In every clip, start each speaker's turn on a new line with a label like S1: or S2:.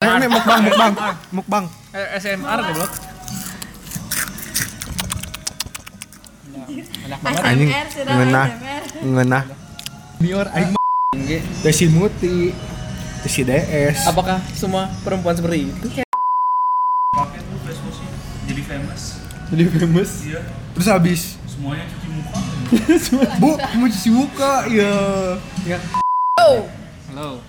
S1: ini mukbang mukbang mukbang.
S2: Eh, SMR goblok. Enak banget.
S1: Anjing,
S3: ASMR sudah
S1: ngenah.
S3: ASMR.
S1: Ngenah. Nior aing
S2: Ge.
S1: teh si Muti, teh si DS.
S2: Apakah semua perempuan seperti itu?
S4: pakai tuh face wash jadi famous
S2: Jadi famous.
S4: iya
S1: Terus habis,
S4: semuanya cuci muka
S1: Bu, mau cuci muka, ya.
S3: Oh,
S2: Halo.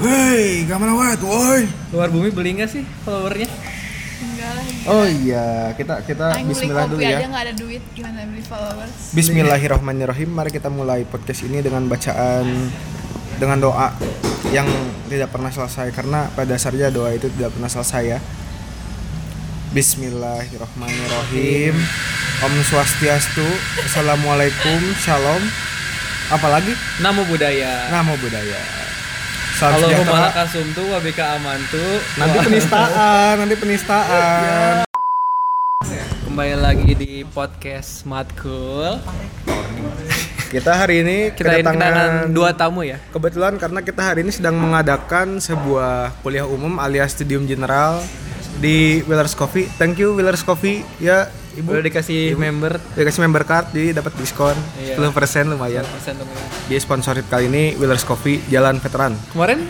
S1: Hei, kemana wet, woi?
S2: Luar bumi beli nggak sih followernya?
S3: enggak lah.
S1: Oh iya, kita kita
S3: Aing beli
S1: Bismillah dulu
S3: kopi aja
S1: ya.
S3: nggak ada duit, gimana beli followers?
S1: Bismillahirrahmanirrahim. Mari kita mulai podcast ini dengan bacaan dengan doa yang tidak pernah selesai karena pada dasarnya doa itu tidak pernah selesai ya. Bismillahirrahmanirrahim. Om Swastiastu. Assalamualaikum. Shalom. Apalagi
S2: Namo budaya.
S1: Namo Buddhaya. Salam
S2: Allahumma
S1: sejahtera.
S2: kasumtu wa bika amantu.
S1: Nanti
S2: Wah.
S1: penistaan, nanti penistaan.
S2: Kembali lagi di podcast Matkul.
S1: Kita hari ini
S2: Kita kedatangan dua tamu ya.
S1: Kebetulan karena kita hari ini sedang mengadakan sebuah kuliah umum alias studium general di Willers Coffee. Thank you Willers Coffee ya Ibu.
S2: Udah dikasih member
S1: Ya kasih member card jadi dapat diskon
S2: Iya.
S1: 10% lumayan.
S2: persen ya. temen.
S1: Di sponsorit kali ini Willers Coffee Jalan Veteran.
S2: Kemarin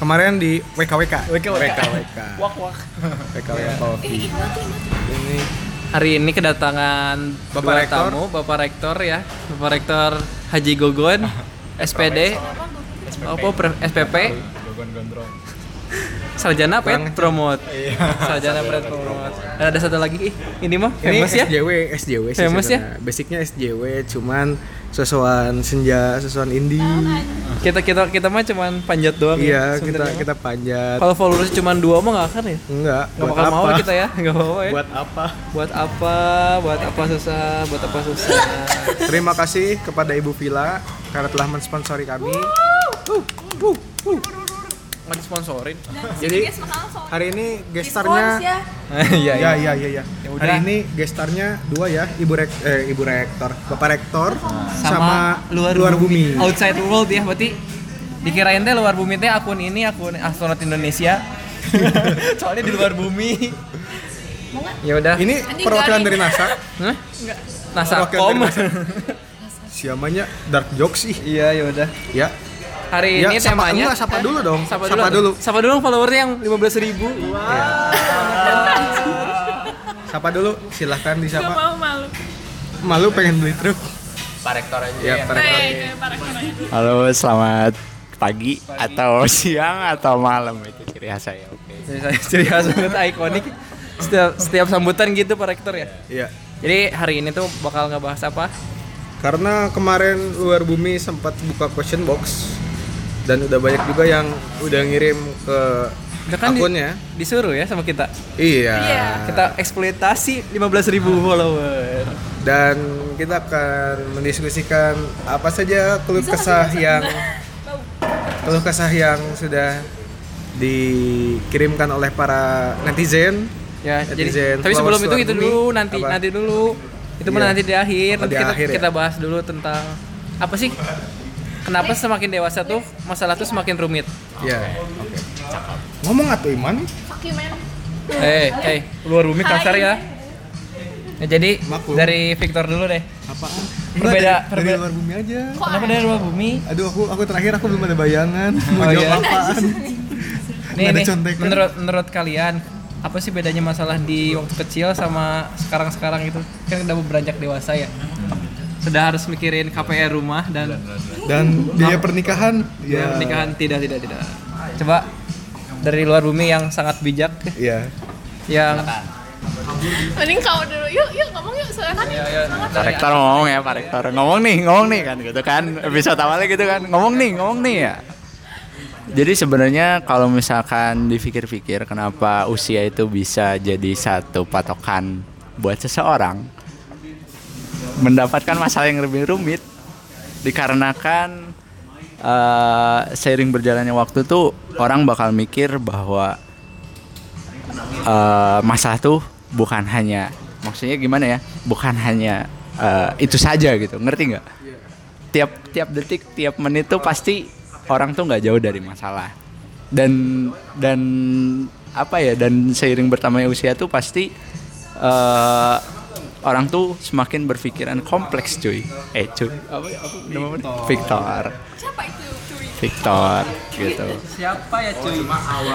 S1: Kemarin di WKWK.
S2: WKWK.
S1: WKWK.
S2: wak wak. Iya.
S1: WKWK Coffee. Ini
S2: Hari ini kedatangan
S1: Bapak
S2: dua
S1: Rektor.
S2: tamu, Bapak Rektor ya. Bapak Rektor Haji Gogon, SPD, apa pre- SPP, Sarjana Pet
S1: Kurang-
S2: Promote. Sarjana Pet Promote. Ada satu lagi ih, ini mah
S1: Ini
S2: famous ya.
S1: SJW, SJW sih
S2: Famous ya?
S1: sebenarnya. Basicnya SJW, cuman sesuan senja, sesuan indie.
S2: Kita kita kita mah cuman panjat doang
S1: iya, kita
S2: ya. sebenarnya mah.
S1: kita panjat.
S2: Kalau followers cuman dua mah nggak akan ya.
S1: Enggak,
S2: Gak bakal mau kita ya, gak mau ya. Buat,
S1: Buat apa?
S2: apa? Buat apa susah? Buat apa susah?
S1: Terima kasih kepada Ibu Vila karena telah mensponsori kami.
S2: Mau disponsorin?
S1: Jadi hari ini gestarnya
S2: Iya
S1: ya ya ya ya.
S2: Ya udah.
S1: Hari ini gestarnya dua ya, Ibu Rek eh, Ibu Rektor, Bapak Rektor
S2: Nah.
S1: sama, luar, bumi.
S2: outside world ya berarti dikirain teh luar bumi teh akun ini akun astronot Indonesia soalnya di luar bumi ya udah
S1: Ini
S3: Ini
S1: perwakilan
S3: garing.
S1: dari NASA.
S2: Hah? NASA
S1: Perwakilan
S2: kom
S1: dari NASA. Siamanya dark jokes sih.
S2: iya ya udah
S1: Ya.
S2: hari
S1: ya,
S2: ini
S1: sapa-
S2: temanya
S1: enggak, sapa dulu dong.
S2: Sapa dulu sapa dulu, followernya yang 15.000 ribu Ah.
S1: Ya. Sapa dulu, silahkan
S3: Gak
S1: disapa.
S3: mau malu.
S1: Malu pengen beli truk.
S2: parektor aja
S1: Ya, Pak Rektor.
S3: Eh, parah parah.
S5: Halo, selamat pagi, atau siang atau malam itu ciri khas saya. Oke.
S2: ciri khas banget ikonik setiap setiap sambutan gitu parektor ya
S1: Iya.
S2: jadi hari ini tuh bakal ngebahas apa
S1: Karena kemarin luar bumi sempat buka question box dan udah banyak juga yang udah ngirim ke
S2: Udah kan di-
S1: akunnya.
S2: disuruh ya sama kita
S1: Iya.
S3: Iya.
S2: kita eksploitasi 15.000 follower
S1: Dan kita akan mendiskusikan apa saja keluh kesah yang keluh kesah yang sudah dikirimkan oleh para netizen.
S2: ya
S1: Netizen,
S2: jadi tapi sebelum itu
S1: followers
S2: itu
S1: luar
S2: dulu
S1: bumi,
S2: nanti
S1: apa?
S2: nanti dulu itu mah
S1: Iya.
S2: nanti di akhir
S1: Oh,
S2: nanti
S1: di
S2: kita,
S1: akhir ya?
S2: kita bahas dulu tentang apa sih kenapa semakin dewasa tuh masalah tuh semakin rumit
S1: Ya. Oke. Ngomong atau Iman?
S3: Fuck you man.
S2: eh eh luar bumi kasar ya Ya, jadi
S1: Maklum.
S2: dari Victor dulu deh
S1: Apaan? dari,
S2: Perbeda-
S1: dari
S2: perbeda-
S1: luar bumi aja.
S2: kenapa dari luar bumi
S1: Aduh, aku aku terakhir aku belum ada bayangan mau
S2: Oh,
S1: jawab
S2: iya.
S1: apaan.
S2: nih,
S1: Nggak ada
S2: nih
S1: contekan.
S2: menurut menurut kalian apa sih bedanya masalah di waktu kecil sama sekarang sekarang itu kan udah beranjak dewasa ya sudah harus mikirin KPR rumah dan
S1: Dan biaya pernikahan, ya.
S2: Biaya pernikahan tidak tidak tidak. Coba dari luar bumi yang sangat bijak
S1: Iya.
S2: yang
S3: Mending kau dulu. Yuk, yuk ngomong yuk. Soalnya kan nih.
S5: Pak Rektor ngomong ya, Pak Rektor. Ngomong nih, ngomong nih kan gitu kan. Episode awalnya gitu kan. Ngomong nih, ngomong nih ya. Jadi sebenarnya kalau misalkan dipikir-pikir kenapa usia itu bisa jadi satu patokan buat seseorang mendapatkan masalah yang lebih rumit dikarenakan eh, seiring berjalannya waktu tuh orang bakal mikir bahwa eh, masalah tuh bukan hanya maksudnya gimana ya bukan hanya eh, itu saja gitu ngerti nggak tiap tiap detik tiap menit tuh pasti orang tuh nggak jauh dari masalah dan dan apa ya dan seiring bertambahnya usia tuh pasti eh, orang tuh semakin berpikiran kompleks cuy eh cuy apa, apa namanya Victor
S3: Siapa itu curi?
S5: Victor gitu
S2: Siapa ya cuy?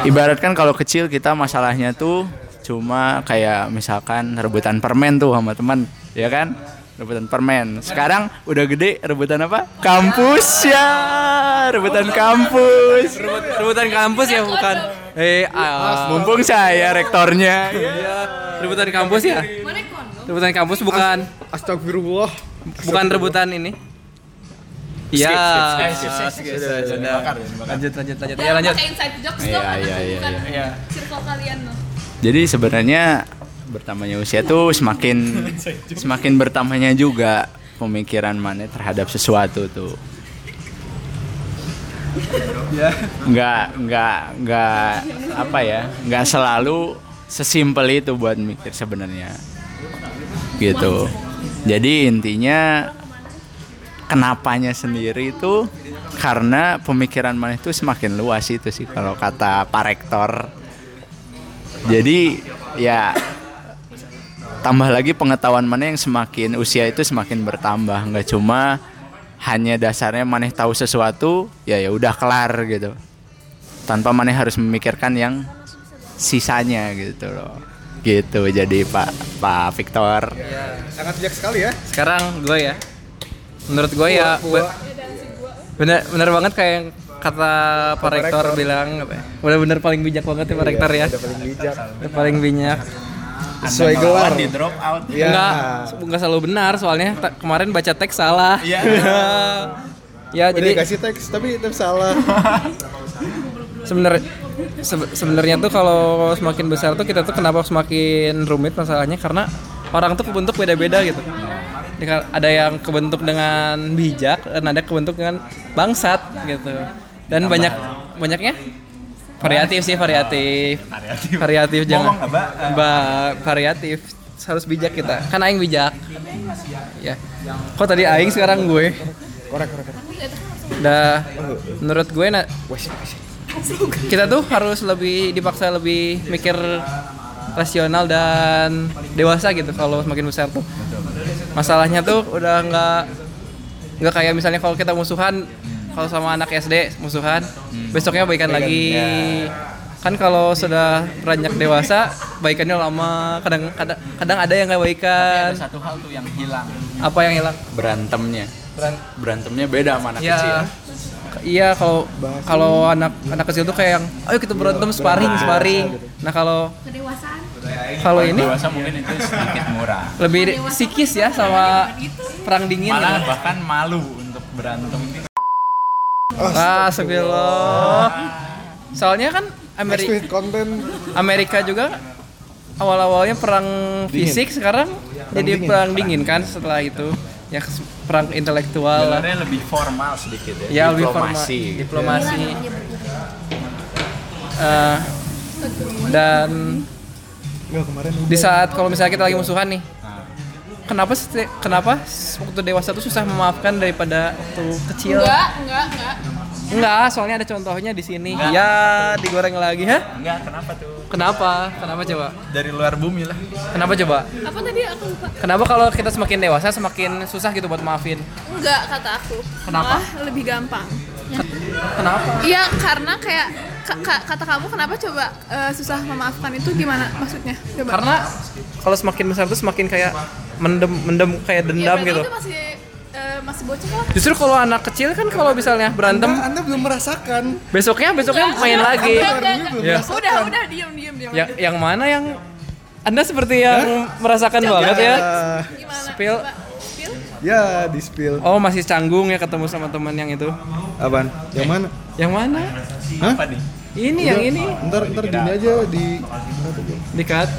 S5: ibaratkan kalau kecil kita masalahnya tuh cuma kayak misalkan rebutan permen tuh sama teman ya kan rebutan permen sekarang udah gede rebutan apa kampus ya rebutan kampus
S2: Rebutan kampus ya bukan?
S5: eh ah, mumpung saya rektornya
S2: Iya, rebutan kampus ya?
S3: Mana kondo?
S2: Rebutan kampus bukan
S1: Astagfirullah.
S2: bukan rebutan ini. Iya. Lanjut lanjut lanjut. Ya lanjut.
S3: Pakai inside jokes
S5: Iya,
S3: dong, anak
S5: iya, iya,
S3: bukan
S2: iya.
S3: circle kalian loh.
S5: Jadi sebenarnya bertambahnya usia tuh semakin semakin bertambahnya juga pemikiran mana terhadap sesuatu tuh. Nggak nggak nggak apa ya? Nggak selalu sesimpel itu buat mikir sebenarnya. Gitu. Jadi intinya kenapanya sendiri itu karena pemikiran mana itu semakin luas itu sih kalau kata Pak Rektor jadi ya tambah lagi pengetahuan mana yang semakin usia itu semakin bertambah nggak cuma hanya dasarnya maneh tahu sesuatu ya ya udah kelar gitu tanpa maneh harus memikirkan yang sisanya gitu loh gitu jadi pak pak Victor
S1: Sangat bijak sekali ya.
S2: Sekarang gue ya. Menurut gue ya be- bener bener banget kayak yang kata Pak Rektor bilang apa ya? Bener-bener paling bijak banget ya Pak Rektor ya.
S1: Iya, Udah paling bijak.
S2: Paling bijak.
S1: Sesuai gelar.
S5: di drop out
S1: Iya.
S2: Enggak, enggak selalu benar soalnya ta- kemarin baca teks salah. Iya. ya,
S1: Udah
S2: jadi
S1: dikasih teks tapi itu salah.
S2: sebenarnya se- sebenarnya tuh kalau semakin besar tuh kita tuh kenapa semakin rumit masalahnya karena orang tuh kebentuk beda-beda gitu. Dika- Ada yang kebentuk dengan bijak dan ada kebentuk dengan bangsat gitu. Dan banyak banyaknya variatif sih variatif. Variatif. jangan. Ba- variatif harus bijak kita. Kan aing bijak. Ya. Kok tadi aing sekarang gue.
S1: Korek korek. korek.
S3: kan
S2: Dah Nah, menurut gue na- kita tuh harus lebih dipaksa lebih mikir rasional dan dewasa gitu kalau semakin besar tuh masalahnya tuh udah nggak nggak kayak misalnya kalau kita musuhan kalau sama anak SD musuhan besoknya baikan lagi kan kalau sudah beranjak dewasa baikannya lama kadang kadang kadang ada yang nggak baikan
S5: satu hal tuh yang hilang
S2: apa yang hilang
S5: berantemnya
S2: Beran-
S5: berantemnya beda sama anak kecil ya?
S2: Iya. Iya kalau kalau anak anak kecil tuh kayak yang ayo kita berantem sparring
S5: Iya.
S2: sparring. Nah kalau
S3: Kedewasaan.
S2: kalau ini
S5: dewasa mungkin itu sedikit murah
S2: lebih psikis ya sama perang dingin.
S5: malah
S2: ya.
S5: bahkan malu untuk berantem
S2: Ah, astagfirullah. Soalnya kan Amerika
S1: Explicit content.
S2: Amerika juga awal-awalnya perang fisik sekarang jadi
S1: dingin.
S2: perang dingin kan setelah itu ya perang intelektual lah.
S5: Sebenarnya lebih formal sedikit
S2: Ya
S5: ya.
S2: lebih formal.
S5: Diplomasi. gitu.
S2: diplomasi. Eh, dan
S1: Enggak kemarin
S2: di saat kalau misalnya kita lagi musuhan nih kenapa seti- kenapa waktu dewasa tuh susah memaafkan daripada waktu kecil
S3: Enggak, enggak, enggak.
S2: enggak soalnya ada contohnya di sini ya digoreng lagi hah
S5: Enggak, kenapa tuh?
S2: kenapa kenapa coba
S5: Dari luar bumi lah.
S2: kenapa coba
S3: Apa tadi aku lupa?
S2: kenapa kalau kita semakin dewasa semakin susah gitu buat maafin
S3: Enggak kata aku.
S2: Kenapa?
S3: Malah lebih gampang.
S2: kenapa
S3: Iya, karena kayak ka- ka- kata kamu kenapa coba eh, susah memaafkan itu gimana maksudnya? Coba.
S2: karena kalau semakin besar tuh semakin kayak mendem mendem kayak
S3: Ya,
S2: dendam
S3: berarti
S2: gitu
S3: Itu masih eh, masih bocah lah.
S2: justru kalau anak kecil kan kalau misalnya berantem
S1: Ah, Anda belum merasakan.
S2: besoknya besoknya main lagi
S3: Enggak, enggak, enggak.
S2: Ya.
S3: Udah, udah diam, diam, diam.
S2: Ya, yang mana yang Anda seperti yang merasakan banget ya?
S1: Ah,
S3: Gimana?
S2: Spill.
S3: Coba. Spill?
S1: ya di spill.
S2: Oh, masih canggung ya ketemu sama teman yang itu.
S1: Apaan? Yang mana?
S2: Yang mana?
S1: Hah?
S2: Ini yang ini.
S1: Ntar ntar gini aja di eh,
S2: Dekat.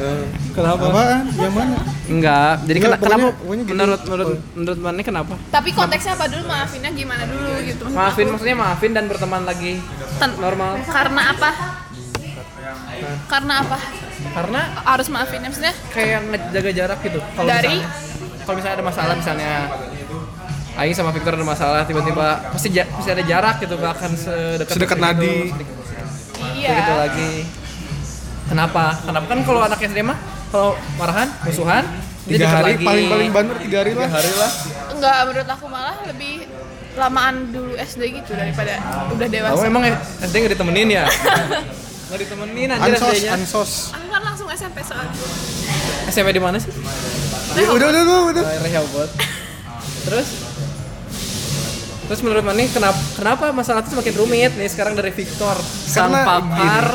S2: Kenapa?
S1: apaan? Yang mana?
S2: Enggak. Jadi
S1: Enggak,
S2: kena- kenapa
S1: pokoknya- pokoknya gitu.
S2: menurut menurut menurut Mane kenapa?
S3: Tapi konteksnya apa dulu maafinnya gimana dulu gitu. Maksud
S2: Maafin
S3: aku,
S2: maksudnya maafin dan berteman lagi
S3: ten-
S2: normal.
S3: Karena apa? Karena apa?
S2: Karena
S3: Harus maafinnya maksudnya
S2: kayak ngejaga jarak gitu. Kalau
S3: Dari?
S2: misalnya- kalau misalnya ada masalah misalnya Aing sama Victor ada masalah tiba-tiba pasti ja- pasti ada jarak gitu bahkan sedekat
S1: Sedekat
S2: itu,
S1: nadi.
S2: sedekat-
S3: Iya.
S2: begitu lagi kenapa kenapa kan kalau anak SD mah kalau marahan musuhan dia
S1: tiga
S2: deket
S1: hari
S2: lagi.
S1: paling paling bener tiga hari lah
S2: tiga hari lah
S3: Enggak, menurut aku malah lebih lamaan dulu SD gitu daripada udah dewasa.
S2: kamu Oh, emang SD nggak ditemenin ya nggak ditemenin anjir
S1: ansos
S2: SD-nya
S1: ansos
S3: Aku kan langsung SMP soalnya.
S2: SMP di mana sih
S1: ya, udah udah udah udah
S2: Daerah Rehoboth. Terus Terus menurut Mani kenapa kenapa masalah itu semakin rumit nih sekarang dari Victor sang
S1: Karena
S2: pakar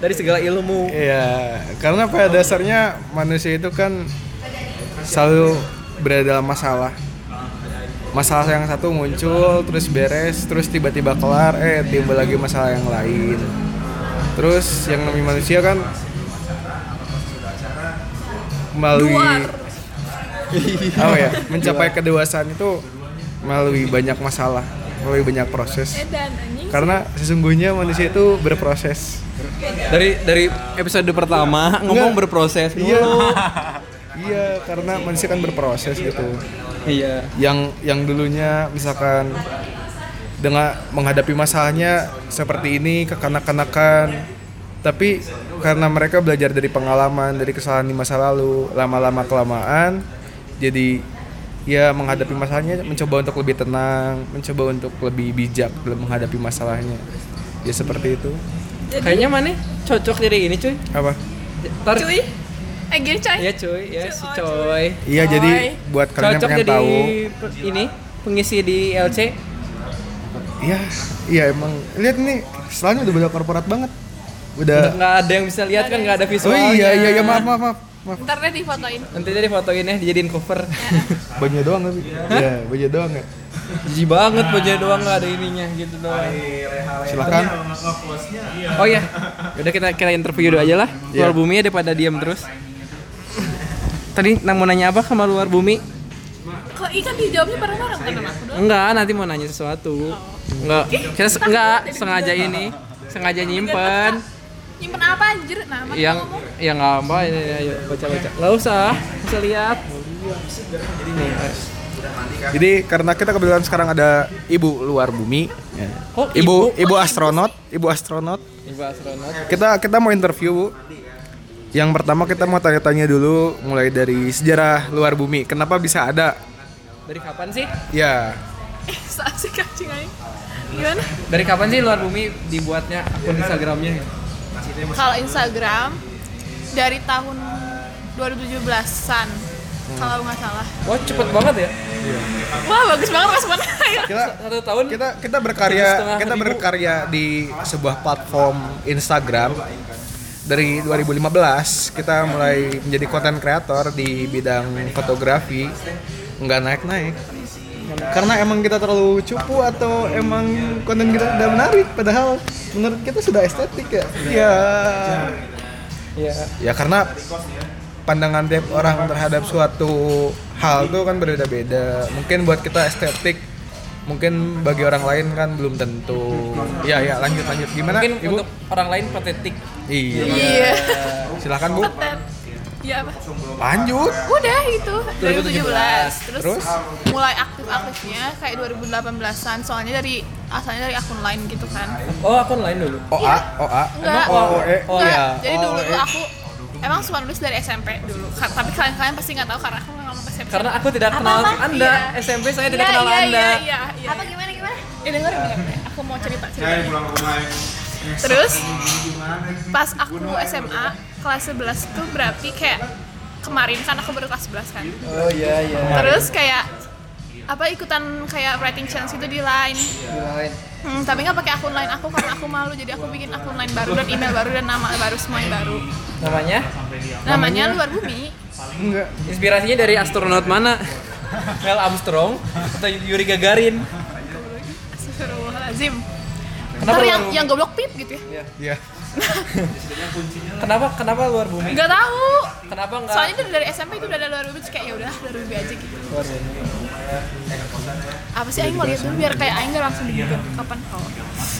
S2: dari segala ilmu.
S1: Iya, karena pada dasarnya manusia itu kan selalu berada dalam masalah. Masalah yang satu muncul, terus beres, terus tiba-tiba kelar, eh timbul lagi masalah yang lain. Terus yang namanya manusia kan melalui oh ya, mencapai kedewasaan itu melalui banyak masalah, melalui banyak proses.
S3: Edan anjing.
S1: Karena sesungguhnya manusia itu berproses.
S2: Dari dari episode pertama ngomong
S1: Enggak.
S2: berproses
S1: Iya.
S2: dulu.
S1: Iya, karena manusia kan berproses gitu.
S2: Iya.
S1: Yang yang dulunya misalkan dengan menghadapi masalahnya seperti ini kekanak-kanakan, tapi karena mereka belajar dari pengalaman, dari kesalahan di masa lalu, lama-lama kelamaan jadi ya menghadapi masalahnya mencoba untuk lebih tenang, mencoba untuk lebih bijak dalam menghadapi masalahnya. Ya seperti itu.
S2: Kayaknya Mani cocok jadi ini cuy.
S1: Apa?
S2: Tar.
S3: Cuy. Eh, gini coy.
S2: Iya cuy, ya si
S3: Cuy, oh,
S2: coy.
S1: Iya, jadi
S3: Coy.
S1: buat kalian yang
S2: Cocok
S1: pengen
S2: jadi
S1: tahu,
S2: pe- ini pengisi di LC.
S1: Iya, iya emang. Lihat nih, selalu udah beda korporat banget.
S2: Nggak
S1: Udah.
S2: nggak ada yang bisa lihat kan nggak ada
S1: Eh. Oh
S2: visualnya.
S1: iya iya iya maaf maaf maaf. maaf.
S3: Ntar deh difotoin.
S2: Nanti jadi fotoin ya dijadiin cover.
S1: Baju doang tapi. Iya, baju doang ya.
S2: Jijik banget bajunya doang nggak ada ininya gitu doang.
S1: Silakan.
S2: Oh iya. Udah kita kita interview dulu aja lah.
S1: Iya.
S2: Luar bumi ya daripada diam terus. Tadi na- mau nanya apa sama luar bumi?
S3: Kok ikan dijawabnya bareng-bareng kan sama aku doang?
S2: Enggak, nanti mau nanya sesuatu. Enggak. Kita se- enggak sengaja ini. Sengaja nyimpen
S3: Nyimpen apa anjir? Nah, mana
S2: yang
S3: ngomong?
S2: yang nggak apa ini ayo baca-baca. Enggak usah, bisa lihat. Nih,
S1: Jadi karena kita kebetulan sekarang ada ibu luar bumi. Ya.
S2: Kok
S1: Ibu ibu astronot, ibu astronot.
S2: Ibu astronot.
S1: Kita kita mau interview, Bu. Yang pertama kita mau tanya-tanya dulu mulai dari sejarah luar bumi. Kenapa bisa ada?
S2: Dari kapan sih?
S1: Ya,
S3: Eh, seasik anjing aja. Gimana?
S2: Dari kapan sih luar bumi dibuatnya akun Instagramnya?
S3: Kalau Instagram dari tahun 2017-an kalau nggak salah.
S2: Wah cepet banget ya.
S3: Wah, bagus banget responnya.
S1: kita
S2: Satu tahun
S1: kita kita
S2: Satu
S1: berkarya
S2: setengah
S1: kita
S2: ribu.
S1: berkarya di sebuah platform Instagram dari 2015 kita mulai menjadi konten kreator di bidang fotografi nggak naik naik karena emang kita terlalu cupu atau emang konten kita tidak menarik padahal menurut kita sudah estetik ya ya
S2: Iya.
S1: ya karena pandangan tiap orang terhadap suatu hal tuh kan berbeda-beda mungkin buat kita estetik mungkin bagi orang lain kan belum tentu ya ya lanjut lanjut gimana
S2: Mungkin
S1: ibu
S2: untuk orang lain patetik.
S1: iya
S3: Iya.
S1: silahkan bu
S3: Dan ya apa?
S1: lanjut
S3: Udah itu 2017. Terus,
S1: Terus?
S3: mulai aktif-aktifnya kayak 2018-an. Soalnya dari asalnya dari akun lain gitu kan.
S2: Oh, akun lain dulu.
S1: oa oa
S3: Iya. Enggak.
S1: emang oe
S2: Oh,
S3: Enggak,
S2: iya.
S3: Jadi dulu tuh aku emang suka nulis dari SMP dulu. Ka- Tapi kalian-kalian pasti nggak tahu karena aku nggak ngomong ke SMP.
S2: Karena aku tidak kenal
S3: Apa-apa?
S2: Anda.
S3: Iya.
S2: SMP saya
S3: Iya,
S2: tidak kenal
S3: iya,
S2: Anda.
S3: Iya, iya, iya. Apa gimana gimana? Ya dengar Aku mau cerita cerita. Terus pas aku SMA kelas 11 tuh berarti kayak kemarin kan aku baru kelas 11 kan.
S2: Oh iya iya.
S3: Terus kayak apa ikutan kayak writing challenge itu di line. Hmm, tapi nggak pakai akun line aku karena aku malu jadi aku bikin akun line baru dan email baru dan nama baru semuanya baru.
S2: Namanya?
S3: Namanya luar bumi.
S1: enggak
S2: Inspirasinya dari astronot mana? Neil Armstrong atau Yuri Gagarin?
S3: Astagfirullahalazim.
S2: Kenapa
S3: Ntar yang
S2: luar Iya.
S3: yang goblok pip gitu ya?
S1: ya
S2: Kenapa kenapa luar bumi?
S3: Nggak tahu.
S2: Kenapa enggak?
S3: Soalnya dari, dari SMP itu udah ada luar bumi terus kayak ya udah luar bumi aja gitu. Apa sih aing mau lihat dulu biar kayak aing nggak langsung dibuka kapan kau.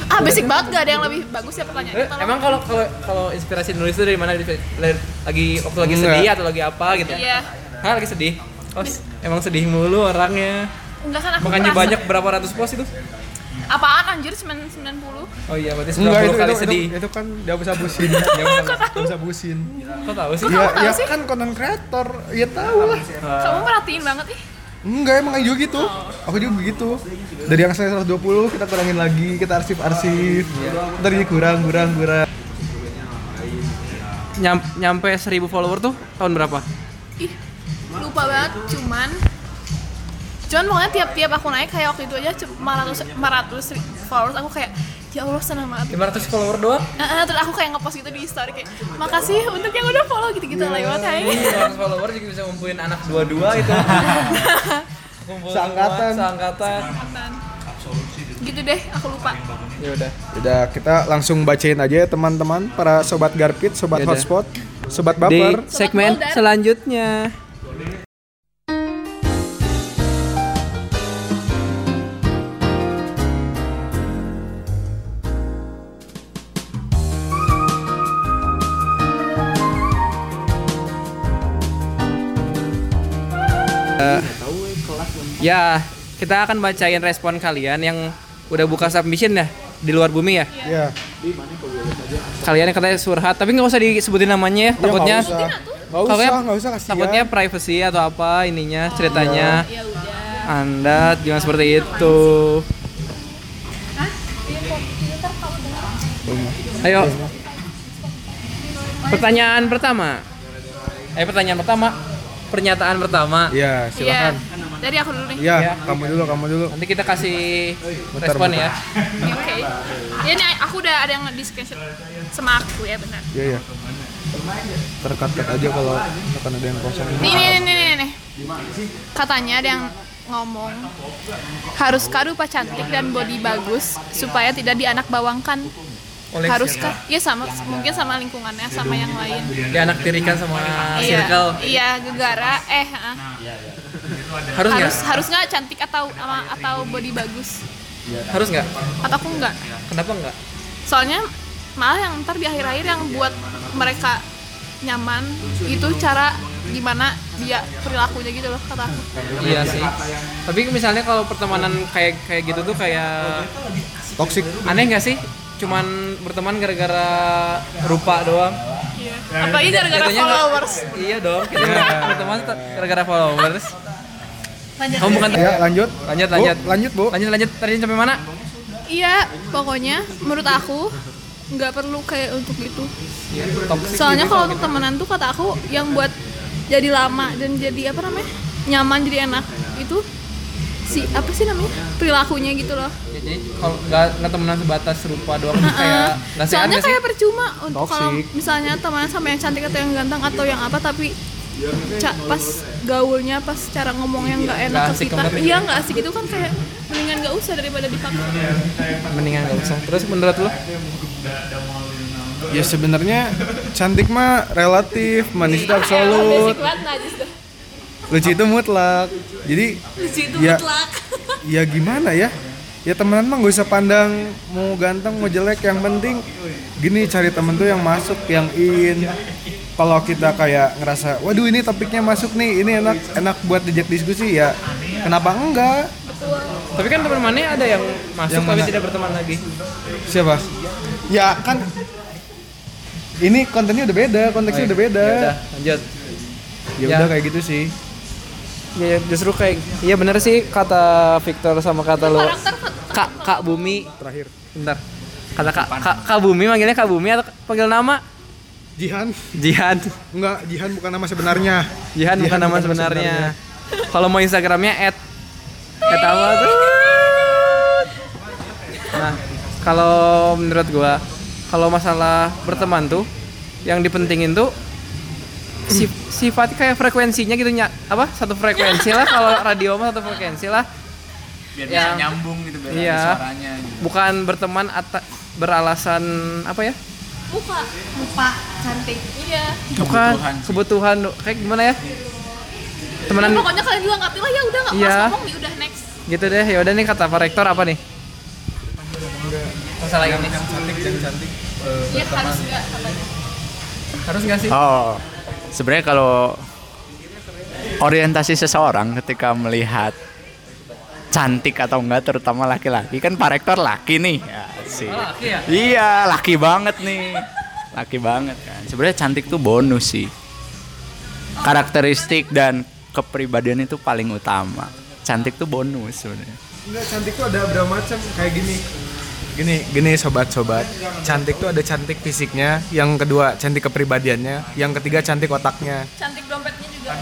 S3: Ah basic banget nggak ada yang lebih bagus ya pertanyaannya.
S2: Eh, emang kalau kalau kalau inspirasi nulis itu dari mana? Dari- dari- Lagi waktu lagi
S1: Enggak.
S2: sedih atau lagi apa gitu?
S3: Iya.
S2: Hah, lagi sedih. Oh, s- emang sedih mulu orangnya.
S3: Enggak kan aku
S2: Makanya
S3: merasa-
S2: banyak berapa ratus post itu?
S3: Apaan anjir 990?
S2: Oh iya, berarti 90
S1: Enggak itu,
S2: kali
S1: itu,
S2: sedih.
S1: itu, itu kan dihapus-hapusin. Dihapus-hapusin.
S2: Kok tahu sih?
S1: Ya,
S3: tahu
S1: ya
S3: sih?
S1: kan konten kreator, ya tahu lah.
S2: Eh.
S3: Kamu perhatiin banget ih.
S1: Enggak, emang aja gitu. Aku juga begitu. Dari yang saya 120 kita kurangin lagi, kita arsip-arsip. Ntar jadi kurang, kurang, kurang.
S2: Nyam, nyampe 1000 follower tuh tahun berapa?
S3: Ih, lupa banget cuman cuman pokoknya tiap-tiap aku naik kayak waktu itu aja cuma 400 400 ri- followers aku kayak ya Allah senang banget
S2: 500 follower doang?
S3: Eh, eh, terus aku kayak ngepost gitu di story kayak makasih untuk yang udah follow gitu-gitu lewat hai
S2: 500 follower juga bisa ngumpulin anak dua-dua itu. Kumpul semua,
S1: Seangkatan.
S2: Seangkatan.
S3: gitu deh aku lupa
S2: Ya udah.
S1: Udah, kita langsung bacain aja ya teman-teman, para sobat garpit, sobat
S2: Yaudah.
S1: hotspot, sobat
S2: Di
S1: baper.
S2: segmen
S3: Sobat Boldar.
S2: selanjutnya. Eh, ya, kita akan bacain respon kalian yang udah buka submission ya di luar bumi ya.
S1: Ya,
S2: Kalian yang katanya surhat, tapi nggak usah disebutin namanya ya, takutnya
S1: Iya, nggak usah. Nggak usah,
S2: Takutnya-
S1: nggak usah kasihan.
S2: takutnya privacy atau apa
S1: Oh.
S2: ininya ceritanya
S1: Iya.
S3: ya udah
S2: anda jangan seperti itu ayo pertanyaan pertama eh pertanyaan pertama pernyataan pertama
S1: Ya,
S3: Iya.
S1: silakan.
S3: dari aku dulu nih
S1: Ya,
S2: Ya.
S1: kamu dulu, kamu dulu.
S2: nanti kita kasih
S1: Bentar,
S2: respon
S1: bentar.
S2: ya
S3: oke ya ini aku udah ada yang di screenshot sama aku ya benar
S1: Ya, ya. Terkat-kat aja kalau akan ada yang kosong.
S3: Nih, nih, nih, nih, nih, nih. Katanya ada yang ngomong haruskah rupa cantik dan body bagus supaya tidak dianak bawangkan haruskah ya sama mungkin sama lingkungannya sama yang lain
S2: dia anak tirikan sama
S3: iya
S2: Nah, circle
S3: iya gegara eh ah.
S2: harus nggak
S3: harus harus nggak cantik atau ama- atau body bagus
S2: harus nggak
S3: atau aku nggak
S2: kenapa nggak
S3: soalnya malah yang ntar di akhir-akhir yang buat mereka nyaman itu cara gimana dia perilakunya gitu loh kata aku
S2: iya sih tapi misalnya kalau pertemanan kayak kayak gitu tuh kayak
S1: Toxic.
S2: aneh nggak sih cuman berteman gara-gara rupa doang
S3: Iya. apalagi gara-gara
S2: Eh, Jatuhnya nggak-
S3: followers
S2: iya dong kita berteman t- gara-gara followers kamu bukan
S1: Ya, lanjut.
S2: lanjut
S1: Bu,
S2: lanjut
S1: lanjut, Bu.
S2: lanjut lanjut tadi sampai mana
S3: Iya, pokoknya menurut aku nggak perlu kayak untuk itu.
S1: Iya.
S2: Toxic
S3: Soalnya
S2: gitu.
S3: kalau untuk temenan tuh kata aku yang buat jadi lama dan jadi apa namanya nyaman jadi enak itu si apa sih namanya perilakunya gitu loh.
S2: Ya, jadi kalau nggak nggak temenan sebatas rupa doang tuh kayak
S3: Heeh.
S2: nggak sehat
S3: Soalnya
S2: nggak sih
S3: kayak percuma untuk kalau
S1: Toxic.
S3: misalnya temenan sama yang cantik atau yang ganteng atau yang apa tapi ca- pas gaulnya pas cara ngomongnya nggak enak
S2: Nggak
S3: ke
S2: asik
S3: kita
S2: banget ya.
S3: iya nggak asik itu kan kayak mendingan nggak usah daripada dipaksa
S2: mendingan nggak usah terus menurut lo
S1: Ya sebenarnya cantik mah relatif, manis
S3: Iya,
S1: itu absolut,
S3: basic banget najis dah
S1: lucu itu mutlak. Jadi
S3: lucu itu
S1: Ya.
S3: mutlak
S1: ya gimana ya ya temenan mah gak usah pandang mau ganteng mau jelek yang penting gini cari temen tuh yang masuk yang in kalau kita kayak ngerasa waduh ini topiknya masuk nih ini enak enak buat diajak diskusi ya kenapa enggak
S2: tapi kan teman-temannya ada yang masuk
S1: Yang
S2: tapi
S1: mana?
S2: tidak berteman lagi
S1: siapa ya kan ini kontennya udah beda konteksnya Oh, iya. udah beda
S2: ya udah lanjut
S1: ya
S2: Ya.
S1: udah kayak gitu sih
S2: Ya, justru kayak iya bener sih kata Victor sama kata lo
S3: karakter
S2: kak kak Bumi
S1: terakhir
S2: bentar kata kak kak, kak Bumi manggilnya kak Bumi atau panggil nama
S1: Jihan
S2: Jihan
S1: enggak Jihan bukan nama sebenarnya
S2: Jihan bukan nama sebenarnya kalau mau Instagramnya at at apa tuh nah kalau menurut gua kalau masalah berteman tuh yang dipentingin tuh si- sifat kayak frekuensinya gitu nya apa satu frekuensi lah kalau radio mah satu frekuensi lah
S5: biar
S2: bisa Yang-
S5: nyambung gitu biar
S2: ada Ya. Iya.
S5: suaranya gitu.
S2: bukan berteman ata- beralasan apa ya
S3: muka muka cantik iya
S2: bukan
S5: Kebutuhan sih.
S2: kebutuhan kayak gimana ya temenan
S3: pokoknya kalian juga ngerti lah ya udah nggak
S2: Iya.
S3: usah ngomong nih udah next
S2: gitu deh ya udah nih kata Pak Rektor apa nih masalah ini
S3: iya harus nggak katanya
S2: harus nggak sih
S5: oh sebenarnya kalau orientasi seseorang ketika melihat cantik atau enggak terutama laki-laki kan Pak Rektor laki nih ya,
S2: Oh,
S5: sih.
S2: laki ya?
S5: Iya laki banget nih laki banget kan sebenarnya cantik tuh bonus sih karakteristik dan kepribadian itu paling utama cantik tuh bonus sebenarnya
S1: Enggak cantik tuh ada berapa macam kayak gini. Gini, gini sobat-sobat. Cantik tuh ada cantik fisiknya, yang kedua cantik kepribadiannya, yang ketiga cantik otaknya.
S3: Cantik dompetnya juga.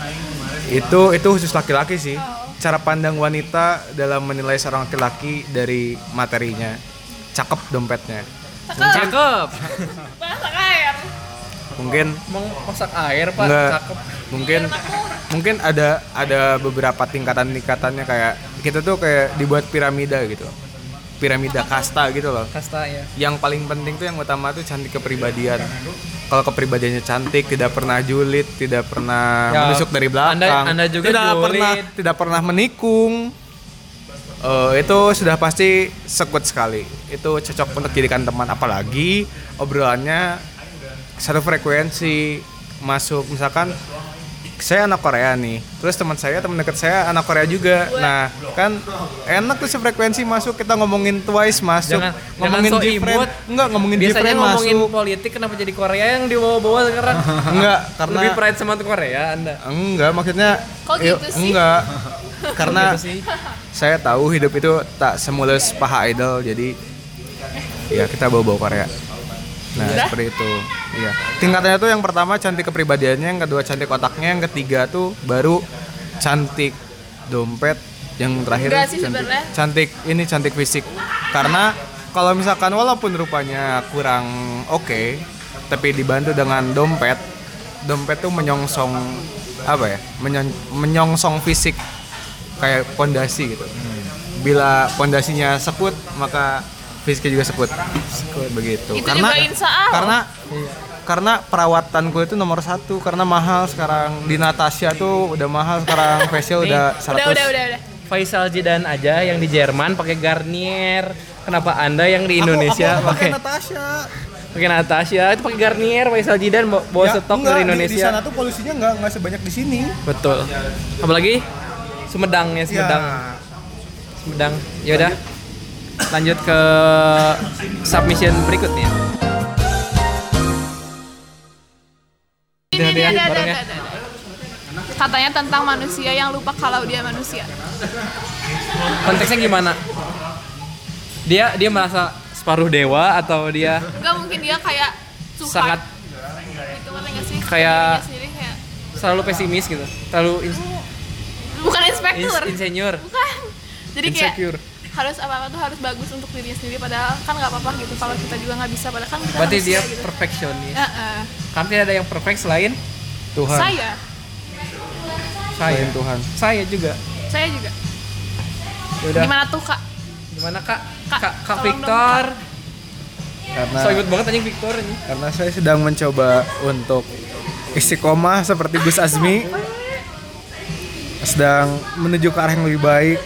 S1: Itu itu khusus laki-laki sih. Cara pandang wanita dalam menilai seorang laki-laki dari materinya. Cakep dompetnya.
S3: Cakep.
S2: Cakep.
S3: Bahasa air.
S1: Mungkin
S2: Emang masak air, Pak.
S1: enggak
S2: Cakep.
S1: mungkin mungkin ada ada beberapa tingkatan-tingkatannya kayak kita tuh kayak dibuat piramida gitu. Piramida kasta gitu loh.
S2: Kasta ya.
S1: yang paling penting tuh yang utama tuh cantik kepribadian kalau kepribadiannya cantik tidak pernah julid tidak pernah
S2: Ya,
S1: menusuk dari belakang
S2: Anda- Anda juga
S1: tidak
S2: julid.
S1: pernah tidak pernah menikung Eh, itu sudah pasti sekut sekali itu cocok untuk jadikan teman apalagi obrolannya satu frekuensi masuk misalkan saya anak Korea nih terus teman saya teman dekat saya anak Korea juga nah kan enak tuh sefrekuensi masuk kita ngomongin twice masuk
S2: Jangan-
S1: ngomongin
S2: jangan so
S1: different
S2: imut.
S1: enggak ngomongin
S2: Biasanya
S1: different
S2: ngomongin
S1: masuk
S2: politik kenapa jadi Korea yang dibawa-bawa sekarang?
S1: enggak karena
S2: Lebih pride sama tuh Korea Anda.
S1: enggak maksudnya
S3: Kok
S2: Iya.
S1: yuk,
S3: gitu sih?
S1: enggak karena
S2: Gitu sih.
S1: saya tahu hidup itu tak semulus paha idol jadi ya kita bawa bawa Korea nah seperti itu iya tingkatannya tuh yang pertama cantik kepribadiannya yang kedua cantik otaknya yang ketiga tuh baru cantik dompet yang terakhir
S3: Enggak sih
S1: cantik,
S3: sebenarnya.
S1: cantik ini cantik fisik karena kalau misalkan walaupun rupanya kurang oke tapi dibantu dengan dompet dompet tuh menyongsong apa ya menyon- menyongsong fisik kayak pondasi gitu
S3: Hmm.
S1: bila pondasinya sekut maka fisiknya juga sekut begitu
S3: Itu juga insaal.
S1: gitu. karena karena perawatan kulit itu nomor satu karena mahal sekarang di Natasha tuh udah mahal sekarang facial udah 100
S3: Udah, udah, udah, udah.
S2: Faisal Jidan aja yang di Jerman pakai Garnier. Kenapa Anda yang di Indonesia
S1: aku, aku pakai
S2: pakai
S1: Natasha
S2: pakai Natasha itu pakai Garnier Faisal Jidan bawa, bawa
S1: Ya,
S2: stok
S1: enggak,
S2: dari
S1: di- di,
S2: Indonesia.
S1: sana tuh polusinya nggak nggak sebanyak di sini
S2: Betul. Apalagi Sumedang ya Sumedang. Sumedang. Ya udah. Lanjut ke submission berikutnya.
S3: Ini, ini,
S2: Hati-hati ya,
S3: ada, ada,
S2: barangnya.
S3: ada, ada. Katanya tentang manusia yang lupa kalau dia manusia.
S2: Konteksnya gimana? Dia dia merasa separuh dewa atau dia
S3: Enggak mungkin dia kayak Tuhan.
S2: sangat
S3: Gitu, ngerti nggak sih?
S2: Kayak-
S3: Dia sendiri kayak
S2: selalu pesimis gitu, terlalu ins-
S3: bukan inspektur.
S2: ins- insinyur,
S3: bukan. Jadi kayak
S2: insecure.
S3: harus apa-apa tuh harus bagus untuk dirinya sendiri padahal kan nggak apa-apa gitu kalau kita juga nggak bisa padahal kan kita
S2: Berarti
S3: manusia
S2: dia
S3: gitu.
S2: perfeksionis.
S3: Heeh.
S2: Karena tidak ada yang perfect selain
S1: Tuhan
S3: saya
S2: saya.
S1: Selain Tuhan
S2: Saya juga.
S3: saya juga
S2: Ya udah.
S3: gimana tuh kak
S2: Gimana Kak?
S3: Kak,
S2: Kak, Kak
S3: tolong dong,
S2: Victor.
S1: karena
S2: So imut banget anjing Victor ini.
S1: karena saya sedang mencoba untuk istiqomah seperti Gus Azmi sedang menuju ke arah yang lebih baik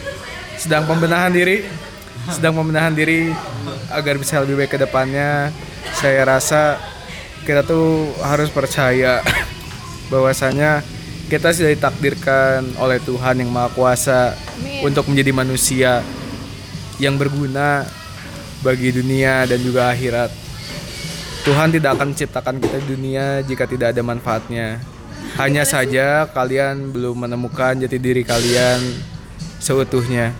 S1: sedang pembenahan diri sedang pembenahan diri agar bisa lebih baik ke depannya saya rasa kita tuh harus percaya bahwasanya kita sudah ditakdirkan oleh Tuhan yang Maha Kuasa
S3: Amin.
S1: untuk menjadi manusia yang berguna bagi dunia dan juga akhirat. Tuhan tidak akan menciptakan kita di dunia jika tidak ada manfaatnya. Hanya saja kalian belum menemukan jati diri kalian seutuhnya.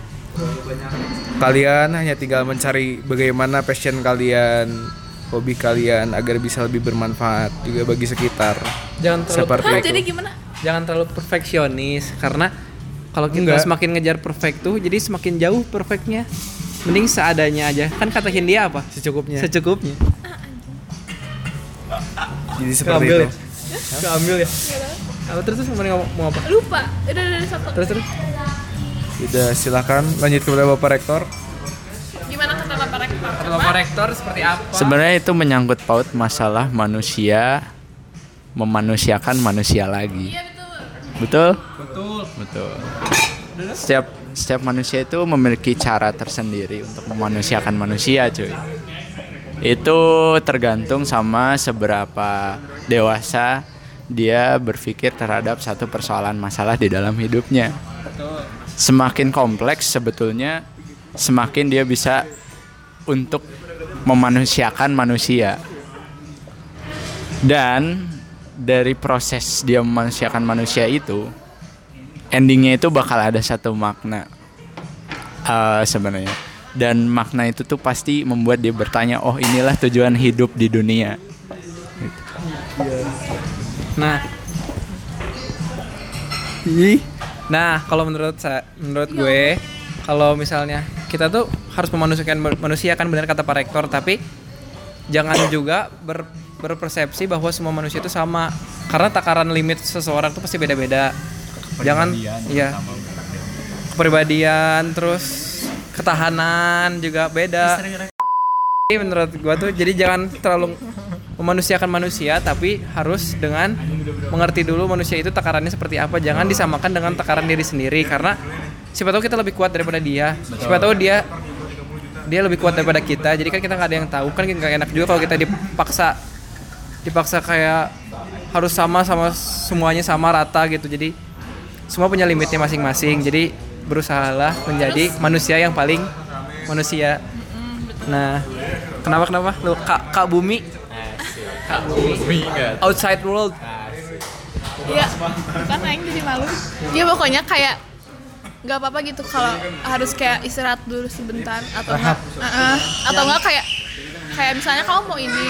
S1: Kalian hanya tinggal mencari bagaimana passion kalian, hobi kalian agar bisa lebih bermanfaat juga bagi sekitar.
S2: Jangan terlalu
S1: Seperti
S3: Hah,
S1: itu.
S3: Ah, jadi gimana
S2: jangan terlalu perfeksionis karena kalau kita
S1: Enggak.
S2: semakin ngejar perfect tuh jadi semakin jauh perfectnya mending seadanya aja kan kata Hindia apa
S1: Secukupnya.
S2: Iya. secukupnya
S1: Jadi seperti
S2: Ngambil
S1: itu.
S2: ya? keambil ya apa terus terus kemarin ngomong, mau apa
S3: lupa udah udah udah, satu
S2: terus terus
S1: Sudah silakan lanjut kepada Bapak Rektor.
S3: gimana kata bapak rektor
S2: kata bapak rektor seperti apa
S5: sebenarnya itu menyangkut paut masalah manusia memanusiakan manusia lagi
S3: iya betul
S5: betul
S2: betul
S5: Betul. Setiap setiap manusia itu memiliki cara tersendiri untuk memanusiakan manusia, cuy. Itu tergantung sama seberapa dewasa dia berpikir terhadap satu persoalan masalah di dalam hidupnya. semakin kompleks sebetulnya semakin dia bisa untuk memanusiakan manusia. Dan dari proses dia memanusiakan manusia itu endingnya itu bakal ada satu makna eh, sebenarnya. Dan makna itu tuh pasti membuat dia bertanya, oh inilah tujuan hidup di dunia.
S2: Nah. Ih. Nah, kalau menurut saya, menurut gue, kalau misalnya kita tuh harus memanusiakan manusia kan benar kata Pak Rektor, tapi jangan juga ber- berpersepsi bahwa semua manusia itu sama. Karena takaran limit seseorang tuh pasti beda-beda. Jangan iya. Kepribadian terus ketahanan juga beda. Jadi menurut gua tuh jadi jangan terlalu memanusiakan manusia tapi harus dengan mengerti dulu manusia itu takarannya seperti apa jangan disamakan dengan takaran diri sendiri karena siapa tahu kita lebih kuat daripada dia siapa tahu dia dia lebih kuat daripada kita jadi kan kita nggak ada yang tahu kan nggak enak juga kalau kita dipaksa dipaksa kayak harus sama sama semuanya sama rata gitu jadi semua punya limitnya masing-masing jadi berusahalah menjadi manusia yang paling manusia Nah, kenapa kenapa? Lu Kak Kak Bumi. Kak Bumi. Outside world.
S3: Iya, bukan Aing jadi malu. Dia pokoknya kayak nggak apa-apa gitu kalau harus kayak istirahat dulu sebentar atau enggak Heeh. atau enggak kayak kayak misalnya kamu mau ini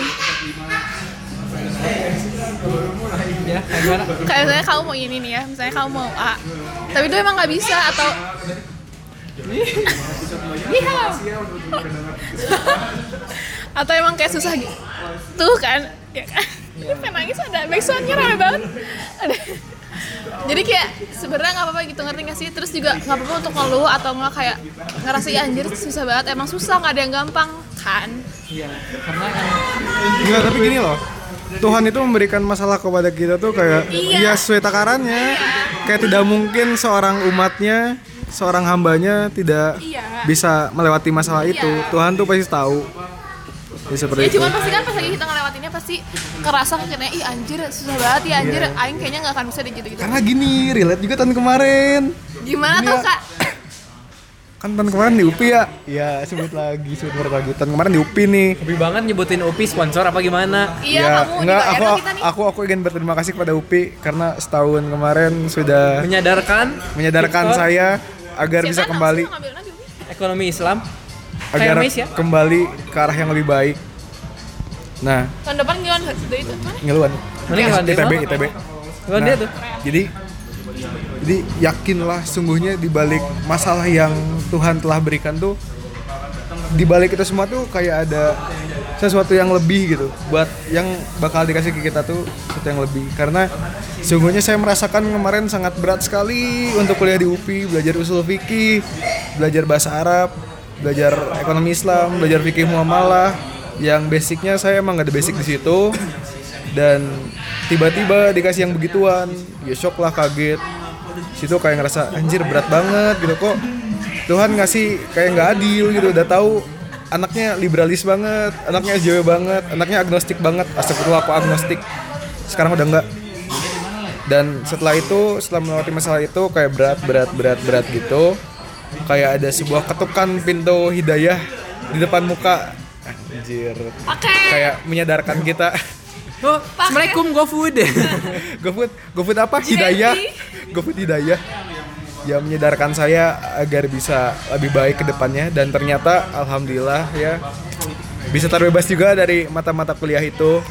S2: Ya, kayak gimana?
S3: kayak misalnya kamu mau ini nih ya misalnya kamu mau A tapi itu emang nggak bisa atau Iya. atau emang kayak susah gitu tuh kan ya kan
S1: Iya.
S3: ini pengen nangis ada backsoundnya rame banget ada jadi kayak sebenarnya nggak apa-apa gitu ngerti nggak sih terus juga nggak apa-apa untuk ngeluh atau nggak kayak ngerasa "Ih, anjir susah banget emang susah nggak ada yang gampang kan
S1: Enggak, tapi gini loh. Tuhan itu memberikan masalah kepada kita tuh kayak
S3: Iya.
S1: ya sesuai takarannya. Kayak tidak mungkin seorang umatnya, seorang hambanya tidak
S3: Iya.
S1: bisa melewati masalah itu.
S3: Iya.
S1: Tuhan tuh pasti tahu. Ya seperti
S3: ya
S1: itu.
S3: cuman pasti kan pas lagi kita ngelewatinnya pasti kerasa kayaknya ih anjir susah banget ya anjir aing kayaknya nggak akan bisa deh gitu gitu
S1: Iya. Karena ya. gini, relate juga tahun kemarin.
S3: gimana tuh kak
S1: Kan tahun kemarin di UPI ya. Iya, sebut lagi, sebut lagi. Tahun kemarin di UPI nih.
S2: Lebih banget nyebutin UPI sponsor apa gimana?
S3: iya
S1: Ya,
S3: kamu
S1: enggak,
S3: dibayar
S1: aku,
S3: sama kita nih
S1: aku aku ingin berterima kasih kepada UPI karena setahun kemarin sudah
S2: Menyadarkan
S1: menyadarkan
S2: Victor,
S1: saya agar
S3: Siapa
S1: bisa
S3: tahu
S1: kembali
S3: semua ngambilnya di UI.
S2: ekonomi Islam.
S1: agar
S2: Kayak Miss ya.
S1: kembali ke arah yang lebih baik. Nah,
S3: tahun depan gimana Dari itu mana
S1: ngeluan.
S2: Mending ngeluan deh,
S1: ITB,
S2: malah.
S1: ITB.
S2: Bukan
S1: Nah,
S2: dia tuh.
S1: Jadi jadi yakinlah sungguhnya di balik masalah yang Tuhan telah berikan tuh di balik itu semua tuh kayak ada sesuatu yang lebih gitu buat yang bakal dikasih ke kita tuh sesuatu yang lebih karena sungguhnya saya merasakan kemarin sangat berat sekali untuk kuliah di UPI belajar usul fikih belajar bahasa Arab belajar ekonomi Islam belajar fikih muamalah yang basicnya saya emang gak ada basic di situ dan tiba-tiba dikasih yang begituan ya shock lah kaget situ kayak ngerasa anjir berat banget gitu kok Tuhan ngasih kayak nggak adil gitu udah tahu anaknya liberalis banget anaknya SJW banget anaknya agnostik banget astagfirullah aku agnostik sekarang udah nggak dan setelah itu setelah melewati masalah itu kayak berat berat berat berat gitu kayak ada sebuah ketukan pintu hidayah di depan muka anjir
S3: pakai
S1: kayak menyadarkan kita
S2: Oh, Assalamualaikum GoFood.
S1: GoFood, GoFood apa? Hidayah. GoFood Hidayah. Ya menyadarkan saya agar bisa lebih baik ke depannya dan ternyata alhamdulillah ya bisa terbebas juga dari mata-mata kuliah itu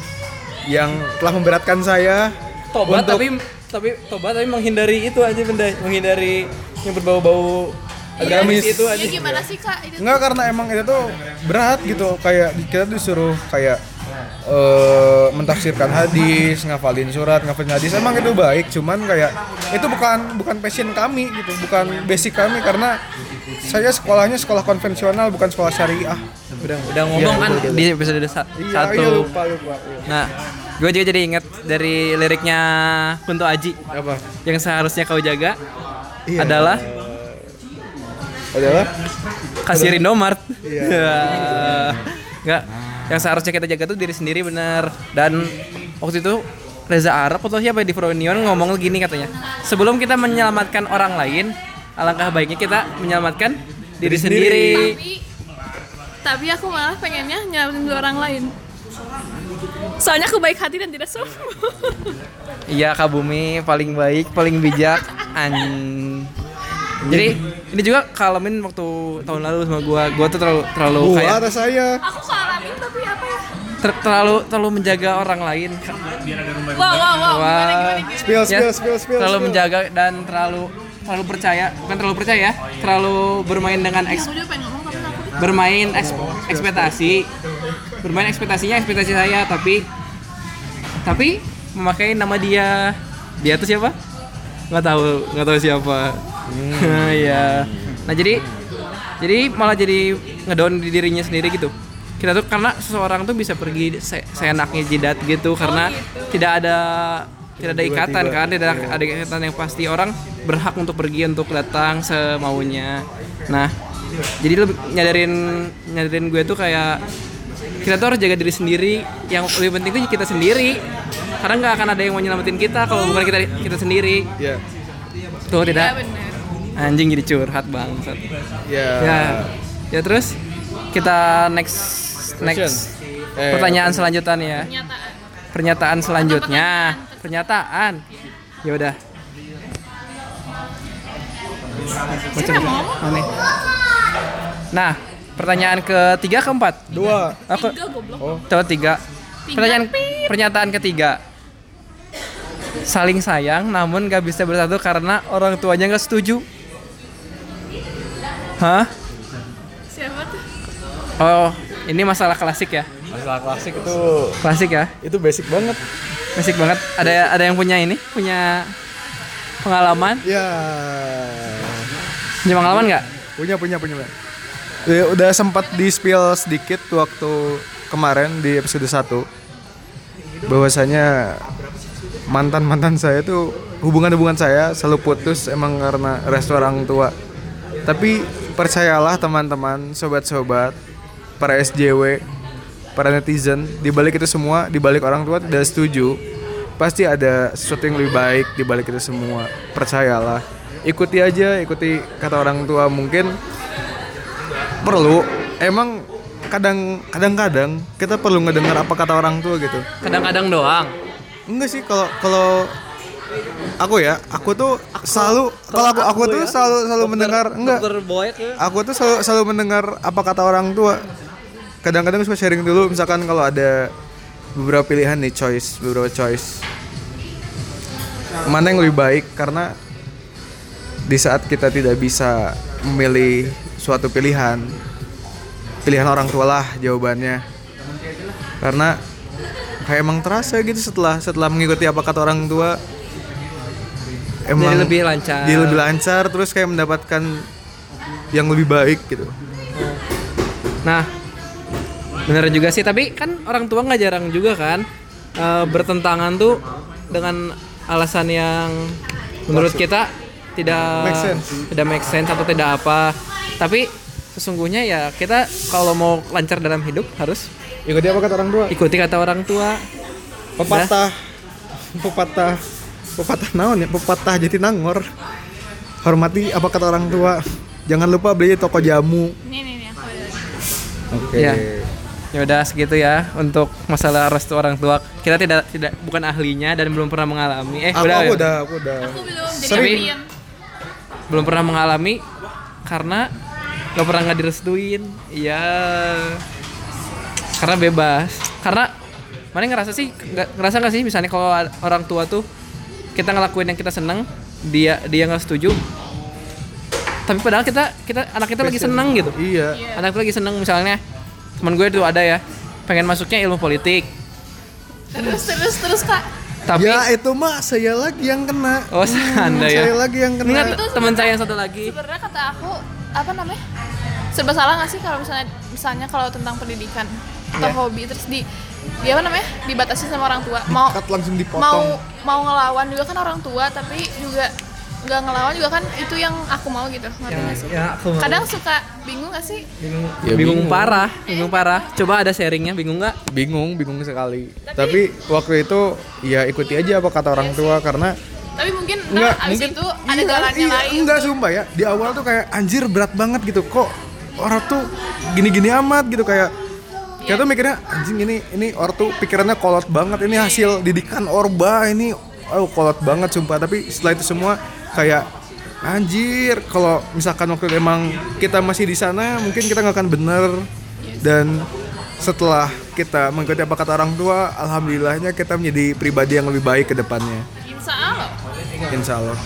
S1: yang telah memberatkan saya.
S2: Tobat
S1: Untuk-
S2: tapi tapi tobat tapi menghindari itu aja benda, menghindari yang berbau-bau agamis
S1: Agamis. Iya,
S2: itu
S3: ya
S2: aja.
S3: gimana sih kak itu
S1: Enggak karena emang itu tuh berat gitu kayak di- kita disuruh kayak eh mentafsirkan hadis, ngafalin surat, ngafalin hadis. Emang itu baik, cuman kayak itu bukan bukan passion kami gitu, bukan basic kami karena saya sekolahnya sekolah konvensional bukan sekolah syariah.
S2: Udah, udah ngomong kan di episode sa-
S1: gitu. Iya,
S2: satu.
S1: iya, lupa lupa. Iya.
S2: Nah, gue juga jadi inget dari liriknya Kunto Aji
S1: Apa?
S2: yang seharusnya kau jaga
S1: Iya.
S2: adalah
S1: Adalah
S2: kasir Indomart.
S1: Iya.
S2: Ya. Enggak, yang seharusnya kita jaga tuh diri sendiri benar. Dan waktu itu Reza Arab atau siapa di Fronion ngomong gini katanya. Sebelum kita menyelamatkan orang lain, alangkah baiknya kita menyelamatkan diri
S1: Diri sendiri.
S2: sendiri.
S3: tapi tapi aku malah pengennya nyelamatin dua orang lain soalnya aku baik hati dan tidak sombong
S2: Iya Kak Bumi paling baik, paling bijak. An. Jadi ini juga kalamin waktu tahun lalu sama gua, gua tuh terlalu terlalu
S1: Gua
S2: kayak
S1: atas saya.
S3: aku kalamin tapi apa ya
S2: ter- terlalu terlalu menjaga orang lain.
S3: wow wow wow
S2: Wah.
S3: gimana gimana gimana
S1: Spill,
S2: Ya,
S1: spill, spill, spill.
S2: terlalu
S1: spill.
S2: menjaga dan terlalu terlalu percaya, bukan terlalu percaya, ya, terlalu bermain dengan eks-
S3: aku juga pengen ngomong tapi aku
S2: bermain eks- ekspektasi bermain ekspektasinya ekspektasi saya tapi tapi memakai nama dia dia tuh siapa nggak tahu nggak tahu siapa ya nah jadi jadi malah jadi ngedown di dirinya sendiri gitu kita tuh karena seseorang tuh bisa pergi se- seenaknya jidat gitu karena tidak ada tidak ada ikatan kan tidak ada, ada ikatan yang pasti orang berhak untuk pergi untuk datang semaunya nah jadi lebih- nyadarin nyadarin gue tuh kayak kita tuh harus jaga diri sendiri yang lebih penting tuh kita sendiri karena nggak akan ada yang mau nyelamatin kita kalau bukan kita kita sendiri
S1: Ya.
S2: tuh
S3: ya
S2: tidak
S3: benar
S2: anjing jadi curhat bangsat ya
S1: Ya.
S2: ya terus kita next next
S1: Eh,
S2: pertanyaan selanjutan ya
S3: kenyataan
S2: pernyataan selanjutnya pernyataan ya udah
S3: saya nggak mau ngomong
S2: Aneh. nah pertanyaan ketiga keempat
S1: Dua.
S2: aku Oh.
S3: tiga goblok
S2: Coba tiga.
S3: Tiga,
S2: Pertanyaan
S3: pip.
S2: pernyataan ketiga. Saling sayang namun gak bisa bersatu karena orang tuanya gak setuju. Hah?
S3: siapa tuh
S2: Oh, ini masalah klasik ya.
S1: Masalah klasik itu
S2: Klasik ya.
S1: itu basic banget.
S2: Klasik banget. Ada ada yang punya ini? Punya pengalaman?
S1: Ya.
S2: Punya pengalaman nggak?
S1: Punya punya punya. Bang. Ya, udah sempat di spill sedikit waktu kemarin di episode 1 bahwasanya mantan mantan saya tuh hubungan hubungan saya selalu putus emang karena restu orang tua tapi percayalah teman-teman sobat-sobat para SJW para netizen di balik itu semua di balik orang tua tidak setuju pasti ada sesuatu yang lebih baik di balik itu semua percayalah ikuti aja ikuti kata orang tua mungkin perlu emang kadang kadang-kadang kita perlu ngedengar apa kata orang tua gitu
S2: Kadang-kadang doang.
S1: enggak sih kalau kalau aku ya aku tuh selalu kalau aku aku ya, tuh selalu selalu mendengar enggak aku tuh selalu selalu mendengar apa kata orang tua kadang-kadang suka sharing dulu misalkan kalau ada beberapa pilihan nih choice beberapa choice mana yang lebih baik karena di saat kita tidak bisa memilih suatu pilihan pilihan orang tua lah jawabannya karena kayak emang terasa gitu setelah setelah mengikuti apa kata orang tua emang
S2: Jadi lebih lancar.
S1: jadi lebih lancar terus kayak mendapatkan yang lebih baik gitu
S2: Nah, bener juga sih. Tapi kan orang tua nggak jarang juga kan eh, bertentangan tuh dengan alasan yang menurut kita tidak
S1: Make sense.
S2: tidak make sense atau tidak apa. Tapi sesungguhnya ya kita kalau mau lancar dalam hidup harus
S1: ikuti Ya, apa kata orang tua
S2: ikuti kata orang tua.
S1: pepatah pepatah pepatah naon ya pepatah jadi nangor hormati apa kata orang tua jangan lupa beli di toko jamu
S3: nih nih nih aku ada
S1: oke
S2: Ya. Ya udah segitu ya untuk masalah restu orang tua. Kita tidak tidak bukan ahlinya dan belum pernah mengalami. Eh,
S1: aku,
S2: udah,
S1: aku
S2: ya?
S1: udah aku udah
S3: aku belum jadi
S2: Tapi-
S3: alien
S2: belum pernah mengalami karena nggak pernah nggak direstuin iya karena bebas karena mana ngerasa sih nggak- ngerasa nggak sih misalnya kalau ada- orang tua tuh kita ngelakuin yang kita seneng dia dia nggak setuju tapi padahal kita kita anak kita lagi seneng gitu
S1: iya
S2: anak gue lagi seneng misalnya teman gue tuh ada ya pengen masuknya ilmu politik
S3: terus terus terus kak
S2: tapi
S1: ya itu mah saya lagi yang kena
S2: oh anda
S1: saya
S2: ya
S1: lagi yang kena
S2: ingat teman saya yang satu lagi
S3: sebenarnya kata aku apa namanya serba salah nggak sih kalau misalnya misalnya kalau tentang pendidikan atau
S2: Iya.
S3: hobi terus di di apa namanya dibatasi sama orang tua mau
S1: Cut langsung
S3: mau
S1: dipotong
S3: mau ngelawan juga kan orang tua tapi juga nggak ngelawan juga kan itu yang aku mau gitu ngerti nggak sih
S2: ya aku
S3: kadang suka bingung gak sih
S1: Ya.
S2: bingung, parah, bingung parah. Coba ada sharingnya, bingung nggak?
S1: bingung bingung sekali tapi, waktu itu ya ikuti aja apa kata orang tua karena
S3: Tapi mungkin
S1: Enggak,
S3: ntar abis
S1: mungkin
S3: itu ada
S1: iya,
S3: jalannya
S1: iya,
S3: lain.
S1: Enggak sumpah ya. Di awal tuh kayak anjir berat banget gitu. Kok orang tuh gini-gini amat gitu kayak Kayak
S3: Iya.
S1: tuh mikirnya anjing ini ini orang tuh pikirannya kolot banget. Ini
S3: iya.
S1: hasil didikan Orba ini oh kolot banget sumpah. Tapi setelah itu semua kayak anjir kalau misalkan waktu itu emang kita masih di sana mungkin kita nggak akan bener dan setelah kita mengikuti apa kata orang tua alhamdulillahnya kita menjadi pribadi yang lebih baik ke depannya
S3: Insya Allah.
S1: insya Allah